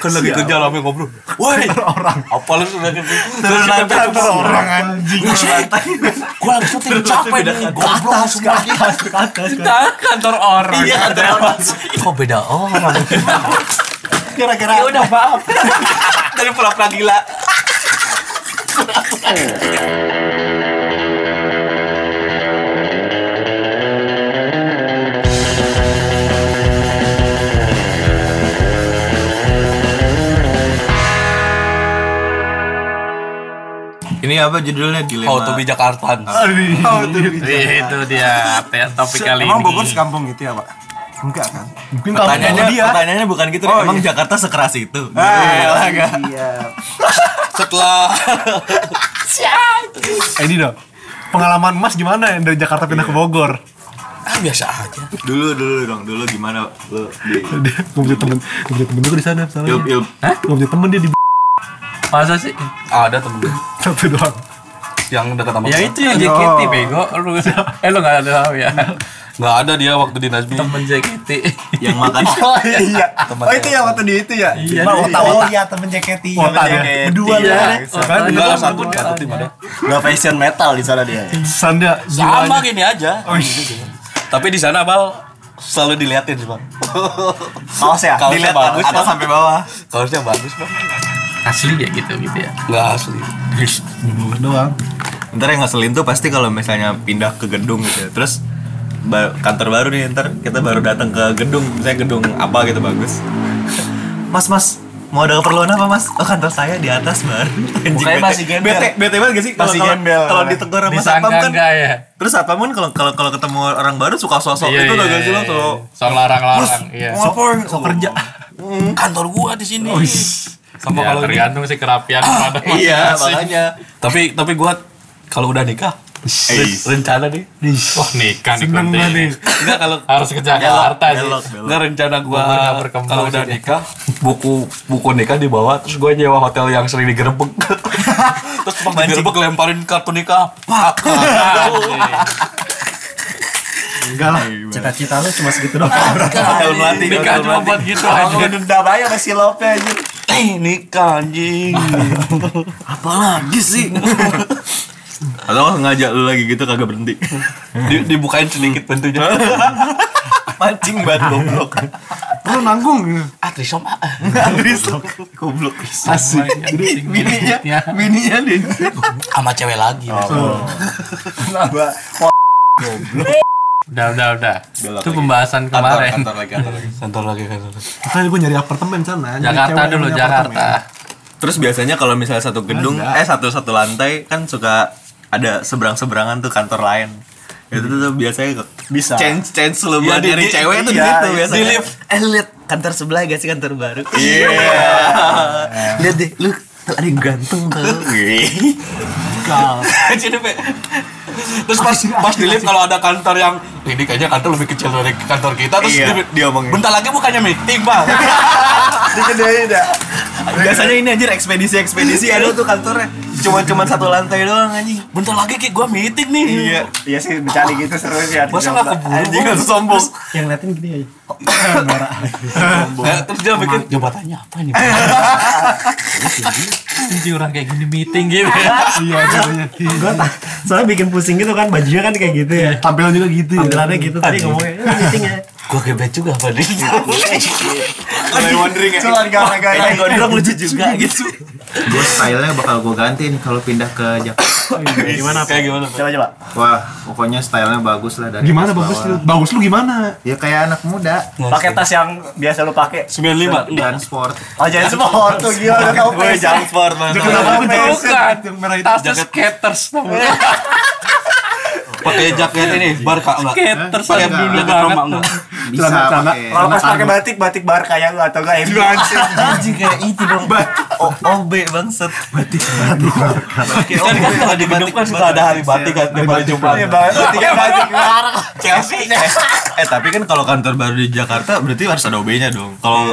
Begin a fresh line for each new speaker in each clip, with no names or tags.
kan lagi kerja rame ngobrol woi
orang
apa lu sudah kerja
terus nanti antar orang
kan?
anjing
gue langsung syuting capek nih goblok semua
ke atas
Kita kantor orang.
iya kantor orang kok beda orang
kira-kira
Ya udah maaf.
dari pura-pura gila
Ini apa judulnya dilema?
how to be Jakartan
Oh,
Itu dia te- topik kali ini.
Emang Bogor sekampung gitu ya, Pak? Enggak kan? Mungkin
pertanyaannya
dia.
pertanyaannya bukan gitu
Oh,
emang
iya.
Jakarta sekeras itu Gitu.
Ah, iya.
setelah
Eh, ini dong pengalaman mas gimana yang dari Jakarta pindah ke Bogor
ah biasa aja
Dulu dulu dong, dulu gimana lu di
dia nggak punya temen nggak punya temen gue di sana soalnya
Ilp ilp
nggak punya temen dia di
Masa sih?
ada temen gue
satu doang
yang dekat sama
Ya
gue.
itu yang JKT bego. Lu eh lu enggak ada tahu ya.
nggak ada dia waktu di Nasbi
Temen JKT.
Hmm. yang makan
Oh iya. Oh itu ya waktu di itu ya.
Iya,
Bang,
di-
Oh iya temen JKT.
Nah, Otak ya.
Temen JKT.
Berdua
Iya.
ya kan
enggak lah
Temen
satu satu tim ada
Nggak fashion metal di sana dia.
sanda
sama
jiwanya
gini aja
Oh, iya.
tapi di sana bal selalu diliatin sih bang
Kaos ya.
Kaosnya
Dilihat
bagus,
atas
Bang.
sampai bawah.
kaosnya bagus bang
Asli ya gitu gitu ya.
nggak asli
Bogor doang
Ntar yang ngeselin tuh pasti kalau misalnya pindah ke gedung gitu ya. Terus ba- kantor baru nih ntar kita baru datang ke gedung misalnya gedung apa gitu bagus mas mas mau ada keperluan apa mas oh kantor saya di atas bar Anjing,
Mukanya
bete.
masih gembel. ya?
bete bete banget gak sih Kalau-
Masih
kalau-
gembel.
kalau ditegur sama satpam
Disangka
kan
enggak ya?
terus satpam kan kalau kalau kalau ketemu orang baru suka sosok
Iya,
Oh,
iya,
itu tuh gak sih
iya,
lo
iya.
tuh
Soal larang-larang, iya.
oh,
Mau apa?
sok kerja
kantor gua di sini
Oh, iya.
sama
Ya,
kalau ini.
tergantung sih kerapian pada
iya
masing-masing.
makanya
tapi tapi gua kalau udah nikah
Eh,
rencana nih
Wah nikah nih
seneng
konten.
banget nih
enggak kalau
Harus ke Jakarta sih.
belok belok
Enggak rencana gua
Bogor nggak berkembang
kalau udah
sih dia.
nikah buku buku nikah dibawa terus gua nyewa hotel yang sering digerebek. terus pas digerebek lemparin kartu nikah. Pak.
enggak lah
Cita-cita lu cuma segitu doang.
hotel melati
Nikah
hotel
cuma
melati
buat gitu
Orang
aja.
udah dendam aja sama si Lope aja.
Eh, nikah anjing.
Apalagi sih.
atau nggak ngajak lu lagi gitu kagak berhenti
Di- dibukain sedikit pintunya.
mancing banget goblok
lu nanggung
ah, trisom ah.
Trisok goblok
asik
Bininya, bininya deh.
sama cewek lagi.
Kenapa?
Udah udah udah.
Belok
Itu
lagi.
pemasan kemarin.
kantor lagi kantor lagi
Kantor lagi kantor. lagi.
makanya gue nyari apartemen sana nyari
Jakarta
cewek yang
dulu
punya
Jakarta.
apartemen.
Terus biasanya kalau misalnya satu gedung, eh satu satu lantai kan suka ada seberang seberangan tuh kantor lain. Itu tuh biasanya
Bisa.
change change lu buat
di-
nyari
di-
cewek tuh di
iya,
situ
di
biasanya.
lift.
Eh lu lihat kantor sebelah gak sih kantor baru? Iya. lihat deh, lu ada yang ganteng tuh.
Ah, Jadi, Pe, Terus pas pas di lift kalau ada kantor yang ini kayaknya kantor lebih kecil dari kantor kita terus
Iya,
di-
dia omongin.
Bentar lagi bukannya meeting, Bang.
Dikedein dah.
biasanya ini anjir ekspedisi ekspedisi ada tuh kantornya cuma cuma satu lantai doang anjing.
Bentar lagi kayak gua meeting nih.
Iya.
Iya sih bercanda gitu seru sih hati
Masa nggak
jomblo.
keburu?
Anjing harus sombong.
Yang ngeliatin gini ya. aja.
Nah, terus dia bikin Eh. jabatannya apa nih? Bang?
Anjing orang kayak gini meeting gitu.
ya.
iya caranya
Gua ta- soalnya bikin pusing gitu kan bajunya kan kayak gitu
Iya.
ya
tampilan juga gitu ya
tampilannya gitu tadi ngomongnya "Eh, meeting ya
Gua gebet juga tadi.
Mulai wondering ya.
Cuman gara-gara
Kayak gondrong lucu juga gitu.
gue stylenya bakal gue ganti nih kalau pindah ke Jakarta
gimana? Kayak gimana? Pak?
Coba coba.
wah pokoknya stylenya bagus lah dari
gimana
atas
bagus lu
bawah.
bagus lu gimana
ya kayak anak muda
Pakai tas yang biasa lu pakai.
95 enggak.
dan sport
Oh jangan semua tuh gila udah tau
Gue jam sport man.
kenapa lu
Bukan.
yang merah itu
Tasnya skaters namanya.
Pakai jaket ini barca enggak?
Skaters
Pakai
yang dulu
jaket
banget.
Roma enggak?
bisa
Celana-celana.
pakai
Kalau pas pakai batik batik bar kayak lu atau enggak ya.
Anjing kayak itu dong. O- OB bangset. Batik batik.
Kan kan kalau di gedung kan suka ada hari batik kan tiap hari Jumat.
Iya banget. Tiga batik gitu. bar.
Chelsea.
Eh tapi kan kalau kantor baru di Jakarta berarti harus ada OB-nya dong. Kalau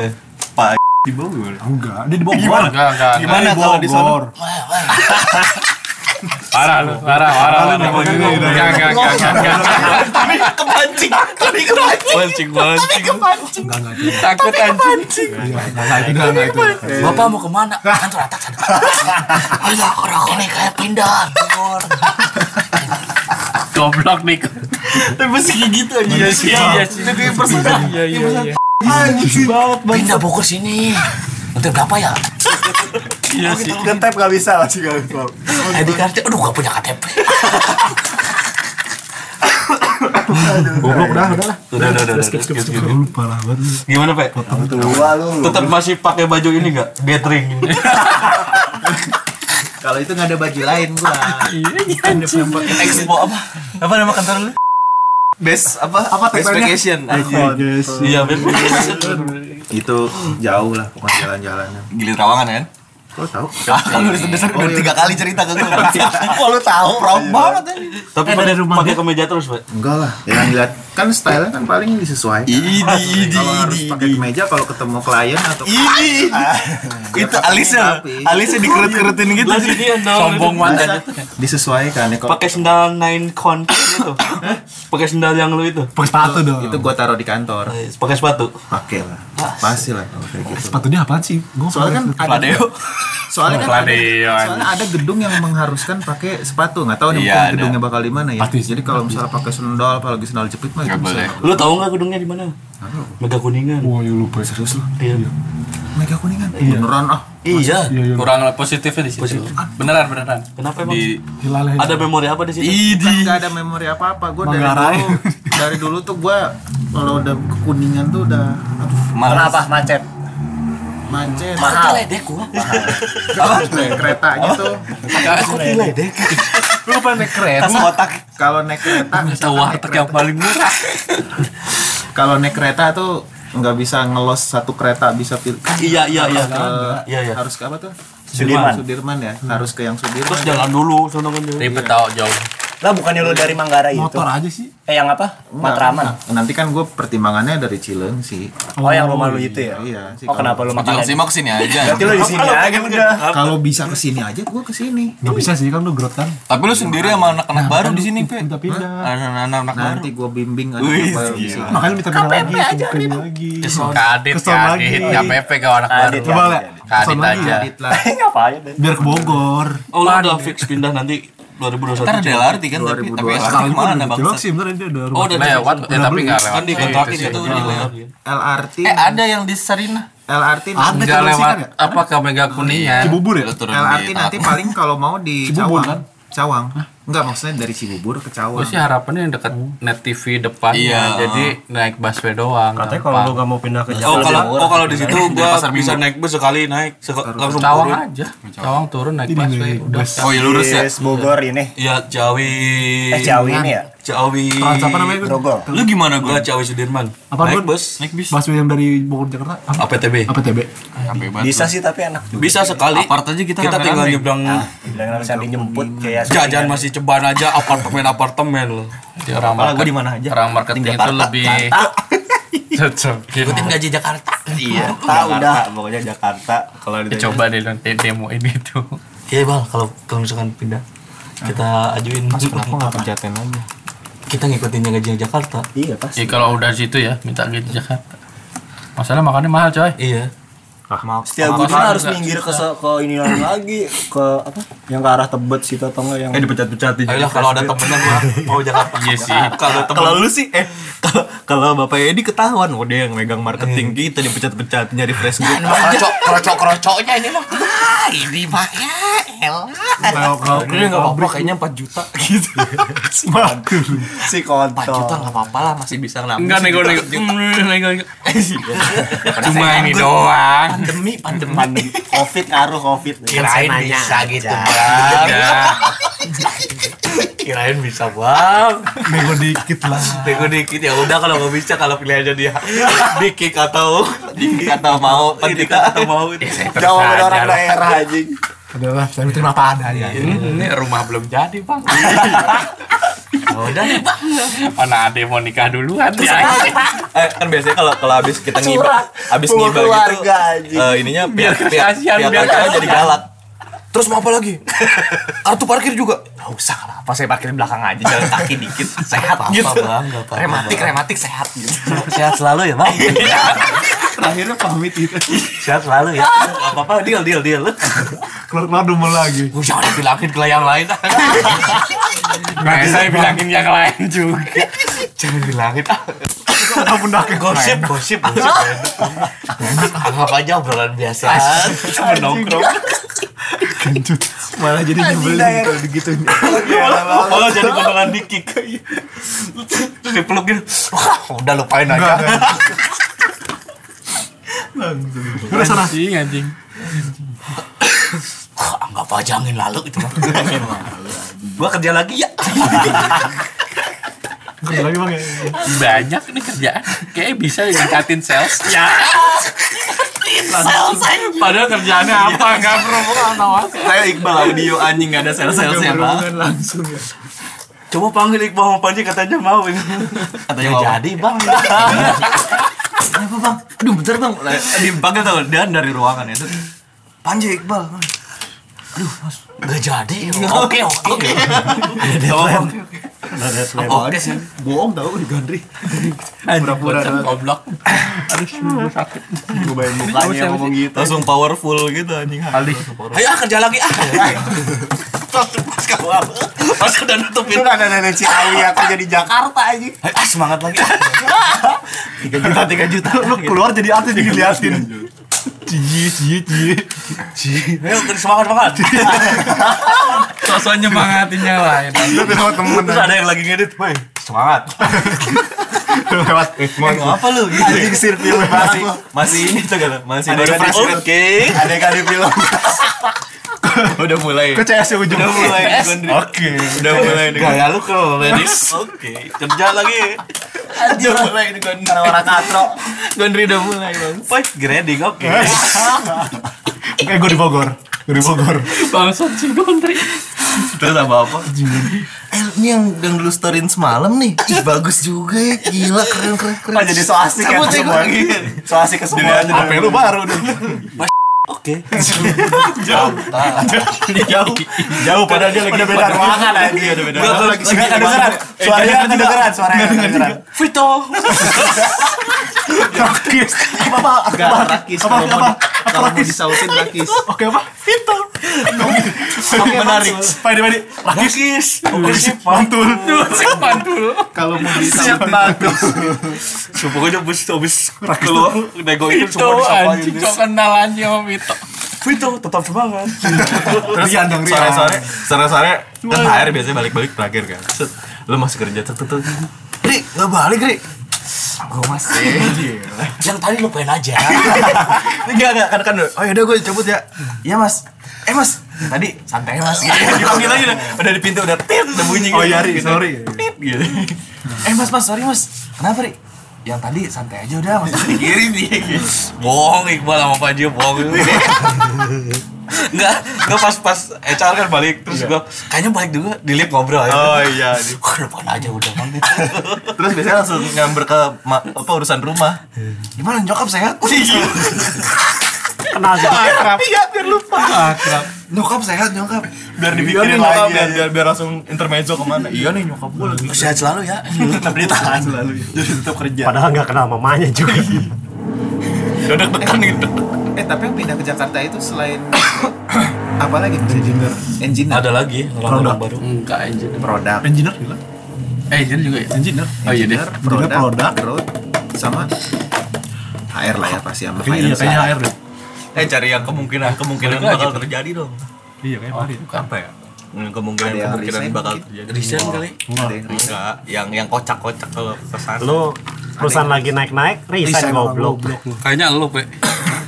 Pak di Bogor.
enggak dia di Bogor
Enggak enggak.
gimana
Gimana
kalau
kalau
di
di sana?
Bogor
Parah lu, parah, parah. parah.
gitu?
Enggak, enggak, enggak, enggak, enggak.
kepancing kami kepancing pancing pancing
Enggak, enggak, itu.
takut anjing
Iya, enggak, enggak, itu, enggak, enggak, itu.
bapak mau kemana Kan kantor atas sana ayo orang orang kayak pindah Bogor
Goblok nih. Tapi meski gitu aja. Iya, sih, iya, sih. Iya, iya, iya.
pindah Bogor sini Nanti berapa ya?
Iya sih.
Ngetep nggak bisa masih nggak bisa.
ID kartu, aduh gak punya KTP.
Goblok, udah, udah lah.
Udah, udah, udah, udah.
Skip, skip,
skip, skip.
skip. Lu Lupa lah, banget.
Gimana, Pak?
Tua lu.
Tetap masih pakai baju ini gak? Gathering.
Kalau itu nggak ada baju lain gua.
Iya,
Expo apa? Apa nama kantor lu?
Best apa? Apa Oh, Best vacation aja.
guys.
Iya, Ben.
Itu jauh lah pokoknya jalan-jalannya.
Gili Trawangan kan?
Kau tahu?
Kalau lu udah udah tiga kali cerita ke gue.
Kok lu tahu?
Proud banget aja.
Iya. Tapi pakai pakai kemeja terus, Pak.
Enggak lah.
Ya,
Yang lihat kan style kan paling disesuaikan.
Iya.
Idi, idi,
Kalau harus
idi,
pakai meja kalau ketemu klien atau
Iya.
idi. Itu alisnya,
Tapi-
alisnya dikerut-kerutin gitu.
Lah ini
Sombong
iya.
banget.
disesuaikan ya kalau
Pakai sendal nine count itu. Pakai sendal yang lu itu.
Pakai sepatu dong. Ah,
itu gua taruh di kantor.
Pakai sepatu.
Pakai lah. Pasti lah kalau kayak gitu.
oh, Sepatunya apaan sih? Gua
Soalnya kan ada
Pladeo.
soalnya kan ada,
Pladeo, anjing.
soalnya ada gedung yang mengharuskan pakai sepatu nggak tahu nih
Iya,
mungkin
ada.
gedungnya bakal di mana ya
Pasti sih.
jadi kalau misalnya pakai sendal apalagi sendal jepit mah
Nggak
itu bisa.
boleh.
Lu tahu nggak gedungnya di mana? Mega Kuningan.
Wah, ya lupa. Serius lu?
Iya.
mega kuningan beneran ah
Iya.
Iya, iya.
Kurang positifnya di situ. Beneran, beneran.
Kenapa emang?
Di
Hilaleh.
Ada memori apa di situ?
Kan nggak ada memori apa apa gue dari
Manggarai.
dulu dari dulu tuh gue kalau udah ke kuningan tuh udah aduh
Kenapa macet?
macet
Mahal.
Ledek gua.
Naik keretanya tuh
Lu pernah naik kereta?
Tas kotak.
kalau naik kereta
Tahu
misalkan naik
warteg yang
kereta-
paling murah.
kalau naik kereta tuh nggak bisa ngelos satu kereta bisa pilih
Iya, iya, iya.
ke,
Iya, iya.
harus ke apa tuh
Sudirman.
Sudirman ya harus ke yang Sudirman
Terus jalan dulu, sono kan dulu.
Ribet tau jauh.
Lah bukannya lu dari Manggarai itu?
Motor aja sih.
Eh yang apa?
Enggak,
Matraman.
enggak. nanti kan gue pertimbangannya dari Cilengsi
Oh yang rumah lu itu ya?
iya sih
Oh kenapa lu
Jangan
makan?
sih mau kesini aja.
Berarti lu di sini aja udah.
kalau bisa kesini aja gue kesini
Gak bisa sih, kan lu grot kan.
Tapi lu sendiri sama anak-anak baru di sini, Pe.
Minta pindah.
Anak-anak anak baru.
nanti gue bimbing aja
Wih,
apa
gila.
bisa.
Makanya lu minta pindah lagi, bukan dia lagi.
Kesel kadit,
Kesel lagi.
kadit. Gak pepe kau anak baru.
Kadit.
Coba lah.
Kadit
Kesel lagi.
aja.
Adit lah
Ngapain? Ben?
Biar ke Bogor.
Oh, lu udah fix pindah nanti 2021.
Ntar ada LRT kan tapi tapi
2022.
LRT kemana bang?
Cilok sih, bener dia ada
Oh,
rumah.
udah
Lewat, ya tapi gak lewat.
kan dikontrakin
Itu sih.
gitu di lewat.
LRT
Eh ada yang di Sarina.
LRT nanti
Nggak
Cilengsi
lewat
kan ya?
apa ke Mega Kuningan.
Cibubur ya?
Lu turun
LRT
di
nanti
Tanah.
paling kalau mau di
Cibubur,
Cawang
kan?
Cawang enggak maksudnya dari Cibubur ke Cawang
Gue sih harapannya yang dekat net TV depannya.
Iya.
Jadi naik busway doang.
Katanya
gampang.
kalau lu gak mau pindah ke
Oh,
Jakarta
kalau
lebih
oh
murah.
kalau di situ gua bisa naik bus sekali naik sek- langsung
Cawang
turun.
aja. Cawang turun naik
Ini
busway.
nih,
Udah.
bus.
Oh ya lurus ya.
Yes, Bogor ini.
Iya, Ciawi.
Eh Ciawi ini
Iya.
ya?
Ciawi.
Trans apa namanya? Gun?
Grogol.
Lu gimana
Gua
gue?
Ciawi Sudirman.
Apa
naik
Gun?
bus? Naik
Busway yang dari Bogor Jakarta. Apa?
APTB.
APTB.
Capek banget.
Bisa sih tapi enak.
Bisa sekali.
Apart aja kita
Kita tinggal
rame-rame.
nyebrang
Bilang harus ada jemput
Iya.
kayak
jajan masih ceban aja apartemen-apartemen lu.
Jadi orang market,
di mana aja?
orang marketing itu lebih cocok. Gitu.
gaji Jakarta. Iya.
Jakarta udah pokoknya Jakarta.
Kalau
Ya,
ditanya.
Coba deh nanti demo ini tuh.
Iya, Bang, kalau kalau misalkan pindah kita ajuin Mas
Kenapa nggak penceten aja?
kita ngikutin gajinya Jakarta
Iya pasti.
Ya kalau udah situ ya minta gitu Jakarta. Masalah makannya mahal coy.
iya
Setiap
Mahal
bulan harus
juga.
minggir ke se- ke ini lagi ke apa? Yang ke arah Tebet situ atau enggak yang
dipecat-pecatin.
ayolah kalau ada temennya gua mau Jakarta
Iya sih.
kalau temen
Kalau lu sih eh kalau kalau Bapak Edi ketahuan oh dia yang megang marketing kita dipecat-pecat nyari fresh grade.
kerocok kerocok kerocoknya ini mah ah ini mah ya
Kalau
ini nggak apa-apa kayaknya 4 juta gitu
si
4 juta
kontol.
nggak apa-apa lah masih bisa nabung
Enggak nego nego. Hmm, nego, nego. Cuma ini doang.
pandemi pandemi
Pandemi Covid ngaruh Covid. Kan
kirain
Saya nanya
bisa gitu
aja.
bang
Ya.
kirain bisa bang
Nego dikit lah.
nego dikit ya udah kalau nggak bisa kalau pilihannya dia dikik atau dikik atau mau dikik atau mau
Ya,
itu
Jauh dari orang daerah anjing.
Adalah saya terima apa adanya.
Ini rumah belum jadi bang.
udah ya bang
Mana ada yang mau nikah duluan ya?
Eh, kan biasanya kalau kalau habis kita ngibah, habis
Bawa
ngibah gitu.
keluarga, anjing.
eh, ininya biar biar,
kasihan,
biar
biar
pacarnya jadi galak.
Terus mau apa lagi? Kartu parkir juga.
Gak usah lah, apa saya parkir di belakang aja, jalan kaki dikit, sehat
Apa-apa,
gitu.
Bang, gak apa-apa,
rematik,
Bang.
rematik sehat gitu.
Sehat selalu ya, Bang.
Terakhirnya pamit gitu.
Sehat selalu ya. Gak apa-apa, deal, deal, deal.
Keluar-keluar dumel lagi.
Gue jangan bilangin ke yang lain. Nah, saya bilangin yang lain juga. Jangan bilangin. ah.
Ampun dah kayak
Gosip, gosip, gosip.
Anggap aja obrolan biasa.
Menongkrong.
Malah jadi nyebelin kalau begitu.
Malah jadi potongan dikik. Terus dipeluk gitu.
Wah, udah lupain aja.
Udah sana.
Iya,
Wah, Anggap aja angin lalu itu. Bang.
Gua kerja lagi ya.
Kerja lagi bang ya.
banyak nih kerjaan kayaknya bisa ditingkatin sales ya padahal kerjaannya apa nggak berhubungan sama
Saya Iqbal audio anjing gak ada sales-salesnya pak
langsung ya.
Coba panggil Iqbal sama Panji katanya mau.
Katanya
Ya
mau
jadi bang.
Kenapa bang? Aduh bentar bang Lah, Dipanggil tau Dan dari ruangan itu Panji Iqbal
Gak jadi. Oke, oke.
Oke sih. Bohong tau di gandri. Pura-pura.
goblok
Gue bayangin mukanya yang ngomong gitu.
Langsung powerful gitu anjing
Ayo ah, kerja lagi ah. Terus pas kawal. Pas udah nutupin.
Itu kan ada nenek Ciawi aku jadi Jakarta aja.
Ayo, ah, semangat lagi. ah.
Lu keluar jadi artis jadi liatin. Cie cie cie.
Ayo, kerja semangat semangat.
sosok nyemangatinya lain
Lu sama temen.
Terus ada yang lagi ngedit, "Woi, semangat."
Lu lewat. Eh, mohon maaf.
Apa lu?
Anjing sir film
Masih, masih ini tuh kan Masih
Ada
negatif.
fresh grade.
Oke
Ada kali film.
Udah mulai
Ke CS yang ujung.
Udah mulai
Iya.
Gondri.
Oke.
Udah mulai dengan
Gaya lu keren. Dis.
Oke Kerja lagi
Udah mulai ini Gondri. Orang katro.
Gondri udah mulai bang Fight grading oke
Eh gue di Bogor. Gue di Bogor.
bangsat si Gondri
Terus apa apa? Eh, ini yang yang dulu storyin semalam nih. Ih, bagus juga ya. Gila keren keren keren.
Kan jadi so asik kan
Cabut,
semua. So asik ke semua.
HP lu baru nih.
jauh.
Jauh padahal dia lagi
Udah beda ruangan aja. Udah beda.
Gua lagi
Gak kedengeran. Suaranya gak kedengeran. Suaranya gak kedengeran.
Rakis. Apa apa? Apa
Gak rakis.
apa?
Kalau
apa?
mau- Kalau mau disautin rakis.
Oke apa? Fitur. Oke menarik. Padi padi. Rakis. Oke sih. Mantul.
Kalau mau disautin rakis.
Sumpah gue abis, abis keluar negoin
Vito
semua disapain
anjing kok kenal anjing sama Vito
Vito tetap semangat
Terus Rian dong
Sore
Rian.
sore sore sore kan HR biasanya balik balik terakhir kan. Set, Lu masih kerja tuh tuh. Ri nggak balik Ri.
Yang tadi lupain aja.
Enggak enggak kan kan. Oh yaudah gue cabut ya. Iya mas. Eh mas tadi santai mas. Gitu. Dipanggil aja udah, udah di pintu udah tit udah bunyi.
Oh
gitu.
iya Ri,
Gitu.
sorry.
Tit, gitu. Eh mas mas sorry mas. Kenapa Ri? Yang tadi santai aja udah mas. Dikirim dia gitu.
bohong Iqbal sama Panji bohong Enggak, enggak pas-pas HR kan balik Terus gue, kayaknya balik juga di lift ngobrol ya. aja
Oh iya. di-
Wah, lupain aja udah bang.
Terus biasanya langsung nyamber ke ma- apa urusan rumah. Gimana nyokap sehat?
Kenal sih.
nyokap sehat nyokap. Biar
Iya
dipikirin
nih, nyokap,
lagi
biar-
biar, biar langsung intermezzo kemana. Iya nih nyokap gue lagi.
Sehat selalu ya.
Tetap ditahan selalu. Jadi tetap kerja.
Padahal nggak kenal mamanya juga.
Udah tekan gitu.
Eh tapi yang pindah ke Jakarta itu selain apa lagi bisa engineer, engineer,
Ada lagi, orang-orang baru
enggak anjing
produk,
Engineer gila.
eh jadi juga ya
Engineer.
oh iya deh
engineer, produk, produk, sama HR lah ya pasti sama
Kayaknya iya,
finance
kayaknya
lah.
HR deh.
Eh cari yang kemungkinan kemungkinan bakal terjadi dong.
Iya kayaknya Fahri.
Apa ya? Hmm, Kemungkinan
Ada yang
kemungkinan
resign
bakal
mungkin.
terjadi.
Desain kali.
Ada yang riset.
Enggak, yang yang kocak-kocak kalau kesan.
Lu perusahaan lagi naik-naik, resign goblok.
kayaknya lu pe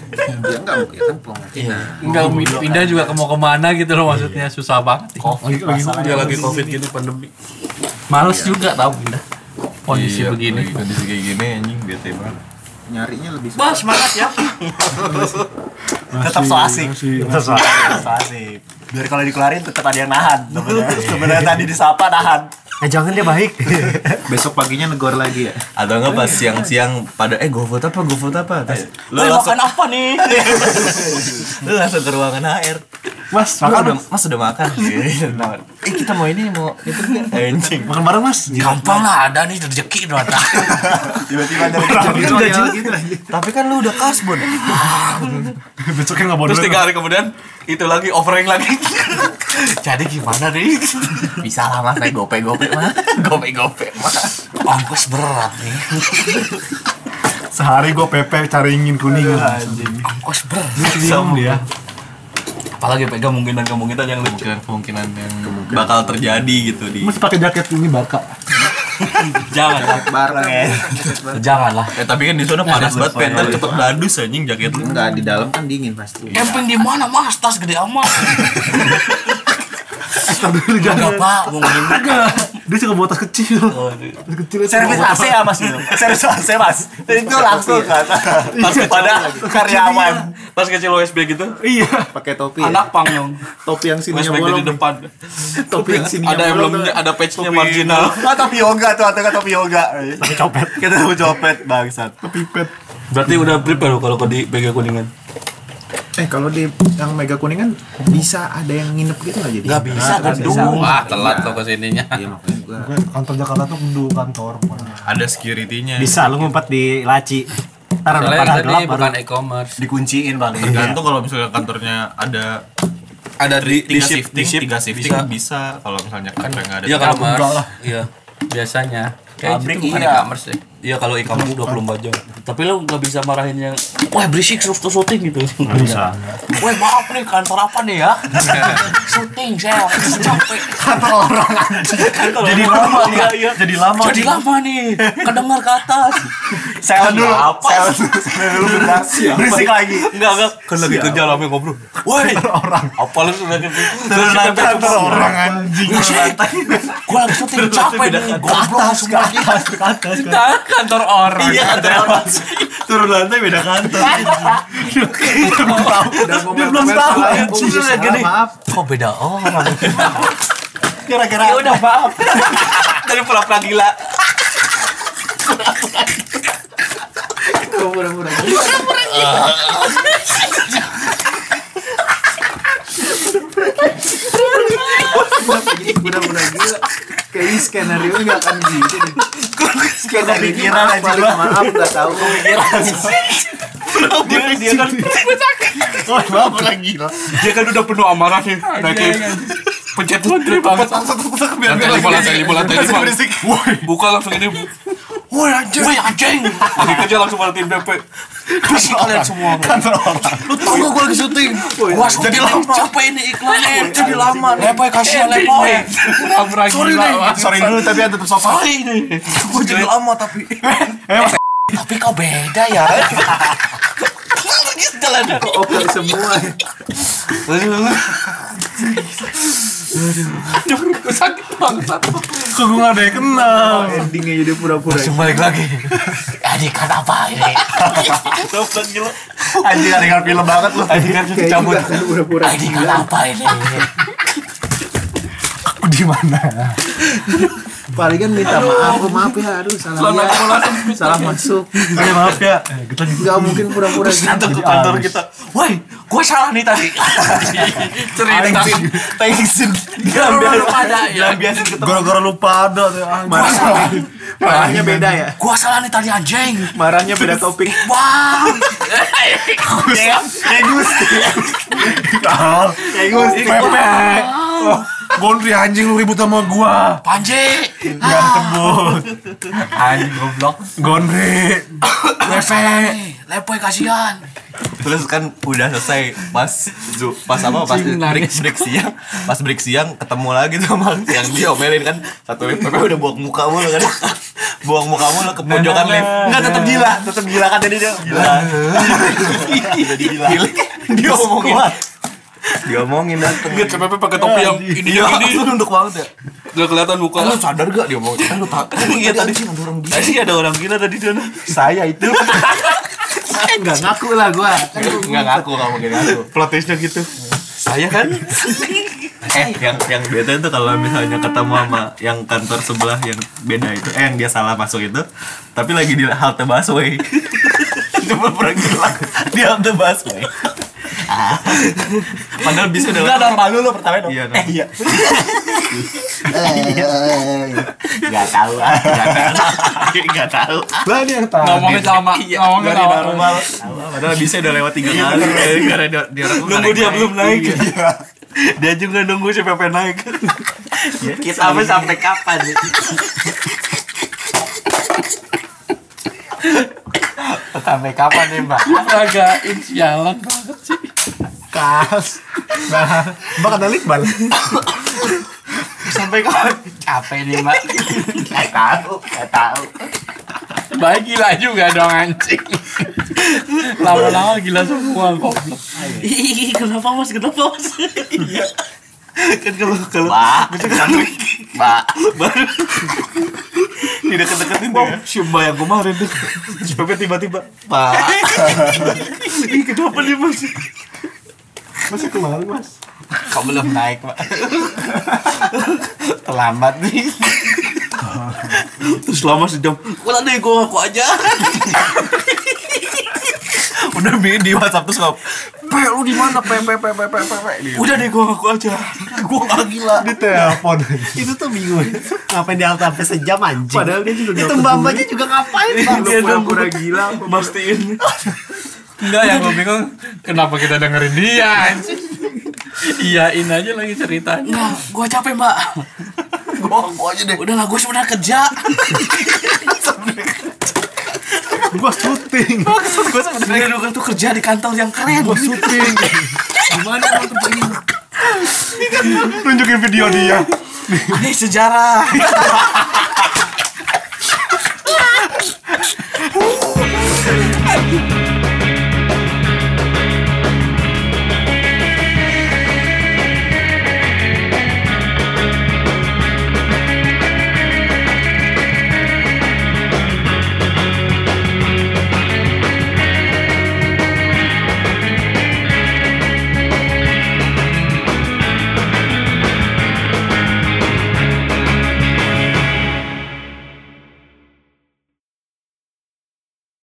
Ya enggak ya kan kemungkinan.
enggak pindah juga ke mau kemana gitu loh maksudnya susah banget
Covid
Dia lagi covid gitu. gini pandemi
males juga tau pindah kondisi
Iya,
begini
lagi Kondisi kayak gini anjing bete banget.
Nyarinya lebih susah.
Bah, semangat ya.
Tetap so asik.
Masih.
Sesuatu.
So asik. Biar kalau dikeluarin tetap ada yang nahan. Sebenarnya- Sebenarnya tadi disapa nahan.
Eh jangan dia baik.
Besok paginya negor lagi ya.
Atau enggak pas siang-siang pada eh GoFood apa GoFood apa terus Iya. lu
Woi,
langsung
makan apa nih?
lu langsung ke ruangan HR
Mas,
Makan
makan
udah, mas udah makan.
Iya,
Gitu. eh kita mau ini mau itu nggak? Anjing.
makan bareng mas.
Gampang lah ada nih rezeki doang.
Tiba-tiba ada
kan
tutorial gitu aja.
Tapi kan lu udah kasbon.
Besoknya nggak bodoh.
Terus tiga hari kemudian itu lagi offering lagi. Jadi gimana nih?
Bisa lah mas naik gope-gope mas. Gope-gope mas.
Ongkos berat nih.
Sehari gue pepe caringin kuning.
Ongkos berat.
Diam dia.
Apalagi PK mungkinan kemungkinan yang lucu.
Kemungkinan yang bakal terjadi gitu di.
Mas pakai jaket ini baka.
Jangan,
Bareng ya.
janganlah.
Eh tapi kan di sana panas
Iya,
banget, penter cepet ladus anjing jaket lu.
Enggak di dalam kan dingin pasti.
Camping di mana mas? Tas gede amat. Enggak pak, mau ngomongin
Dia suka bawa tas kecil. Tas kecil aja.
Servis AC ya mas Servis AC mas Itu langsung kan
tas kepada karyawan. Tas kecil OSB gitu.
Iya.
Pakai topi. ya.
Anak pangyong.
Topi yang sininya
OSB di
bolong.
depan.
Topi yang sininya
Ada
bolong.
emblemnya, ada patchnya marginal.
Oh topi yoga tuh Atau nggak topi yoga Tapi copet Kita mau copet bangsat
Berarti udah prepare lu kalau ke di PK kuningan.
Eh kalau di yang Mega Kuningan bisa ada yang nginep gitu nggak jadi? Nggak bisa
Aduh Wah telat lo kesininya
Iya makanya gua.
Kantor Jakarta tuh mendung kantor.
Ada security-nya.
Bisa lu ngumpet di laci. Ntar udah pada
Soalnya yang tadi
gelap baru.
bukan e-commerce
Dikunciin paling
Tergantung kalau misalnya kantornya ada
Ada di
tiga
shift,
shifting,
shift.
tiga shifting bisa, kalau misalnya kantor nggak ada.
Iya kan?
E-commerce
Enggak lah. Iya.
Biasanya Kayak gitu,
Pabrik,
itu bukan
iya.
e-commerce deh
Iya kalau e-commerce 24 jam. Tapi lo nggak bisa marahin yang wah berisik suruh tuh syuting gitu. Nggak bisa. Wah maaf nih kantor apa nih ya? syuting saya capek. Kan Kantor orang Jadi lama nih. Iya.
Jadi lama.
Jadi lama nih. Kedengar ke atas.
Saya dulu Apa
Berisik lagi.
Enggak enggak. ya? Kan lagi kerja rame ngobrol. Woi. Orang. Apa lu sudah gitu? Terus sampai
Kantor orang anjing.
Gue lagi syuting capek nih. Goblok semua kita.
Kita kantor orang
Iya kantor orang.
Turun lantai beda kantor.
Dia belum tahu. Terus kayak gini.
Maaf.
Kok beda orang?
Gara-gara
Ya udah maaf. Dari pura-pura gila.
Mudah-mudahan gila. Kayaknya skenario nggak akan gitu deh. Skenario
kepikiran
apa?
aja gua.
Maaf nggak tahu.
dia, dia kan dia kan udah penuh amarah nih naikin pencet lantai pencet lantai lima lantai lima lantai lima Woi, buka langsung ini woi anjing Kan woi anjing lagi kerja langsung pada tim DP kasih kalian semua lu tau gak gue lagi syuting gua Kan jadi lama capek ini iklannya jadi lama lepoy kasihan lepoy sorry nih
Sorry dulu tapi ada tetap sofa.
sorry nih gue jadi lama tapi tapi kok beda ya Jalan
Oke semua.
Kok gue nggak ada yang kenal.
Endingnya jadi pura-pura.
balik lagi Adik kan apa ini
Anjing dengar film banget lu. Anjing kan
Kayaknya
cabut.
nggak akan pura-pura.
Adik kan apa ini
Di mana?
Palingan minta maaf. Oh, maaf ya. Aduh salah lihat. Salah masuk.
Ya maaf ya. Eh, Kita
Nggak mungkin pura-pura gitu.
Datang ke kantor kita Woi gue salah nih tadi Cerita
thanksin.
Diambil pada ya
Gara-gara lu pada tuh anjing.
Marahnya beda ya.
Gue salah nih tadi anjing
Marahnya beda topik.
Wah
Pepe. Oh, Gondri anjing lu ribut sama gua.
Panji
Berantem bos.
Anjing goblok
Gondri.
Lepoy Eh, Lepoy kasihan
Terus kan udah selesai pas zu- pas apa pas break, break siang, pas break siang ketemu lagi tuh sama yang diomelin kan satu lift Pepe udah buang muka mulu kan. buang muka mulu ke pojokan lift.
Enggak tetap gila Tetap gila kan tadi dia
Gila. Jadi gila. Dia omongin. Dia omongin dateng.
Lihat CPP pakai topi yang
Iya.
ini yang ini
Itu nunduk banget ya.
Gak kelihatan muka
Lu sadar gak dia omongin? Kan lu tak.
Iya tadi Tadi ada orang gila tadi di sana
Saya itu. Nggak ngaku lah gua. Kan
Enggak ngaku kamu gini ngaku.
Plotesnya gitu Saya kan
Eh, yang yang bete itu kalau misalnya ketemu sama yang kantor sebelah yang beda itu, eh yang dia salah masuk itu, tapi lagi di halte busway. Cuma pura gila di halte busway. Padahal bisa udah
Enggak dong, malu lo pertama dong.
Iya, dong.
Eh, iya.
Gak tahu. Gak tahu.
Lah ini yang tahu.
Ngomongnya sama, ngomongnya sama.
Padahal bisa udah lewat tiga kali. Karena dia, dia orang
Nunggu dia belum naik.
Iya.
Dia juga nunggu siapa yang naik.
Kita sampai sampai kapan? sampai kapan nih, Mbak?
Ragain sialan banget sih.
Kas. Nah, Mbak kenal Iqbal.
Sampai kapan? Capek nih, Mbak. Gak tahu, gak tahu.
Baik gila juga dong anjing. Lama-lama gila semua goblok.
Ih, kenapa Mas? Kenapa Mas?
Kan kalau kalau
Mbak, Mbak.
tidak kedeketin dia.
Cuma yang kemarin tuh. Sampai tiba-tiba.
Ih, kenapa dia masih?
Masih kemarin mas.
Kok belum naik, Mbak? Terlambat nih.
Terus lama sejam.
Udah deh, gue ngaku aja.
Udah bikin di WhatsApp terus ngomong.
Pe, lu di mana? Pe, pe, pe, pe, pe, pe, pe.
Udah deh gua ngaku aja. Gua gak gila.
Di telepon.
itu tuh bingung ngapain di altar sampai sejam anjing
Padahal dia juga
itu mbak mbaknya juga ngapain bang
Lu pura-pura gila. apa?
Enggak yang gue bingung kenapa kita dengerin dia anjing. Iyain Iya, aja lagi ceritanya.
Nah, gue capek, Mbak. gue ngaku aja deh. Udah lah, gue sebenarnya kerja.
Gua syuting.
gue sebenarnya dulu tuh kerja di kantor yang keren.
Gua syuting.
Gimana waktu tempatnya?
Tunjukin video dia.
Ini sejarah.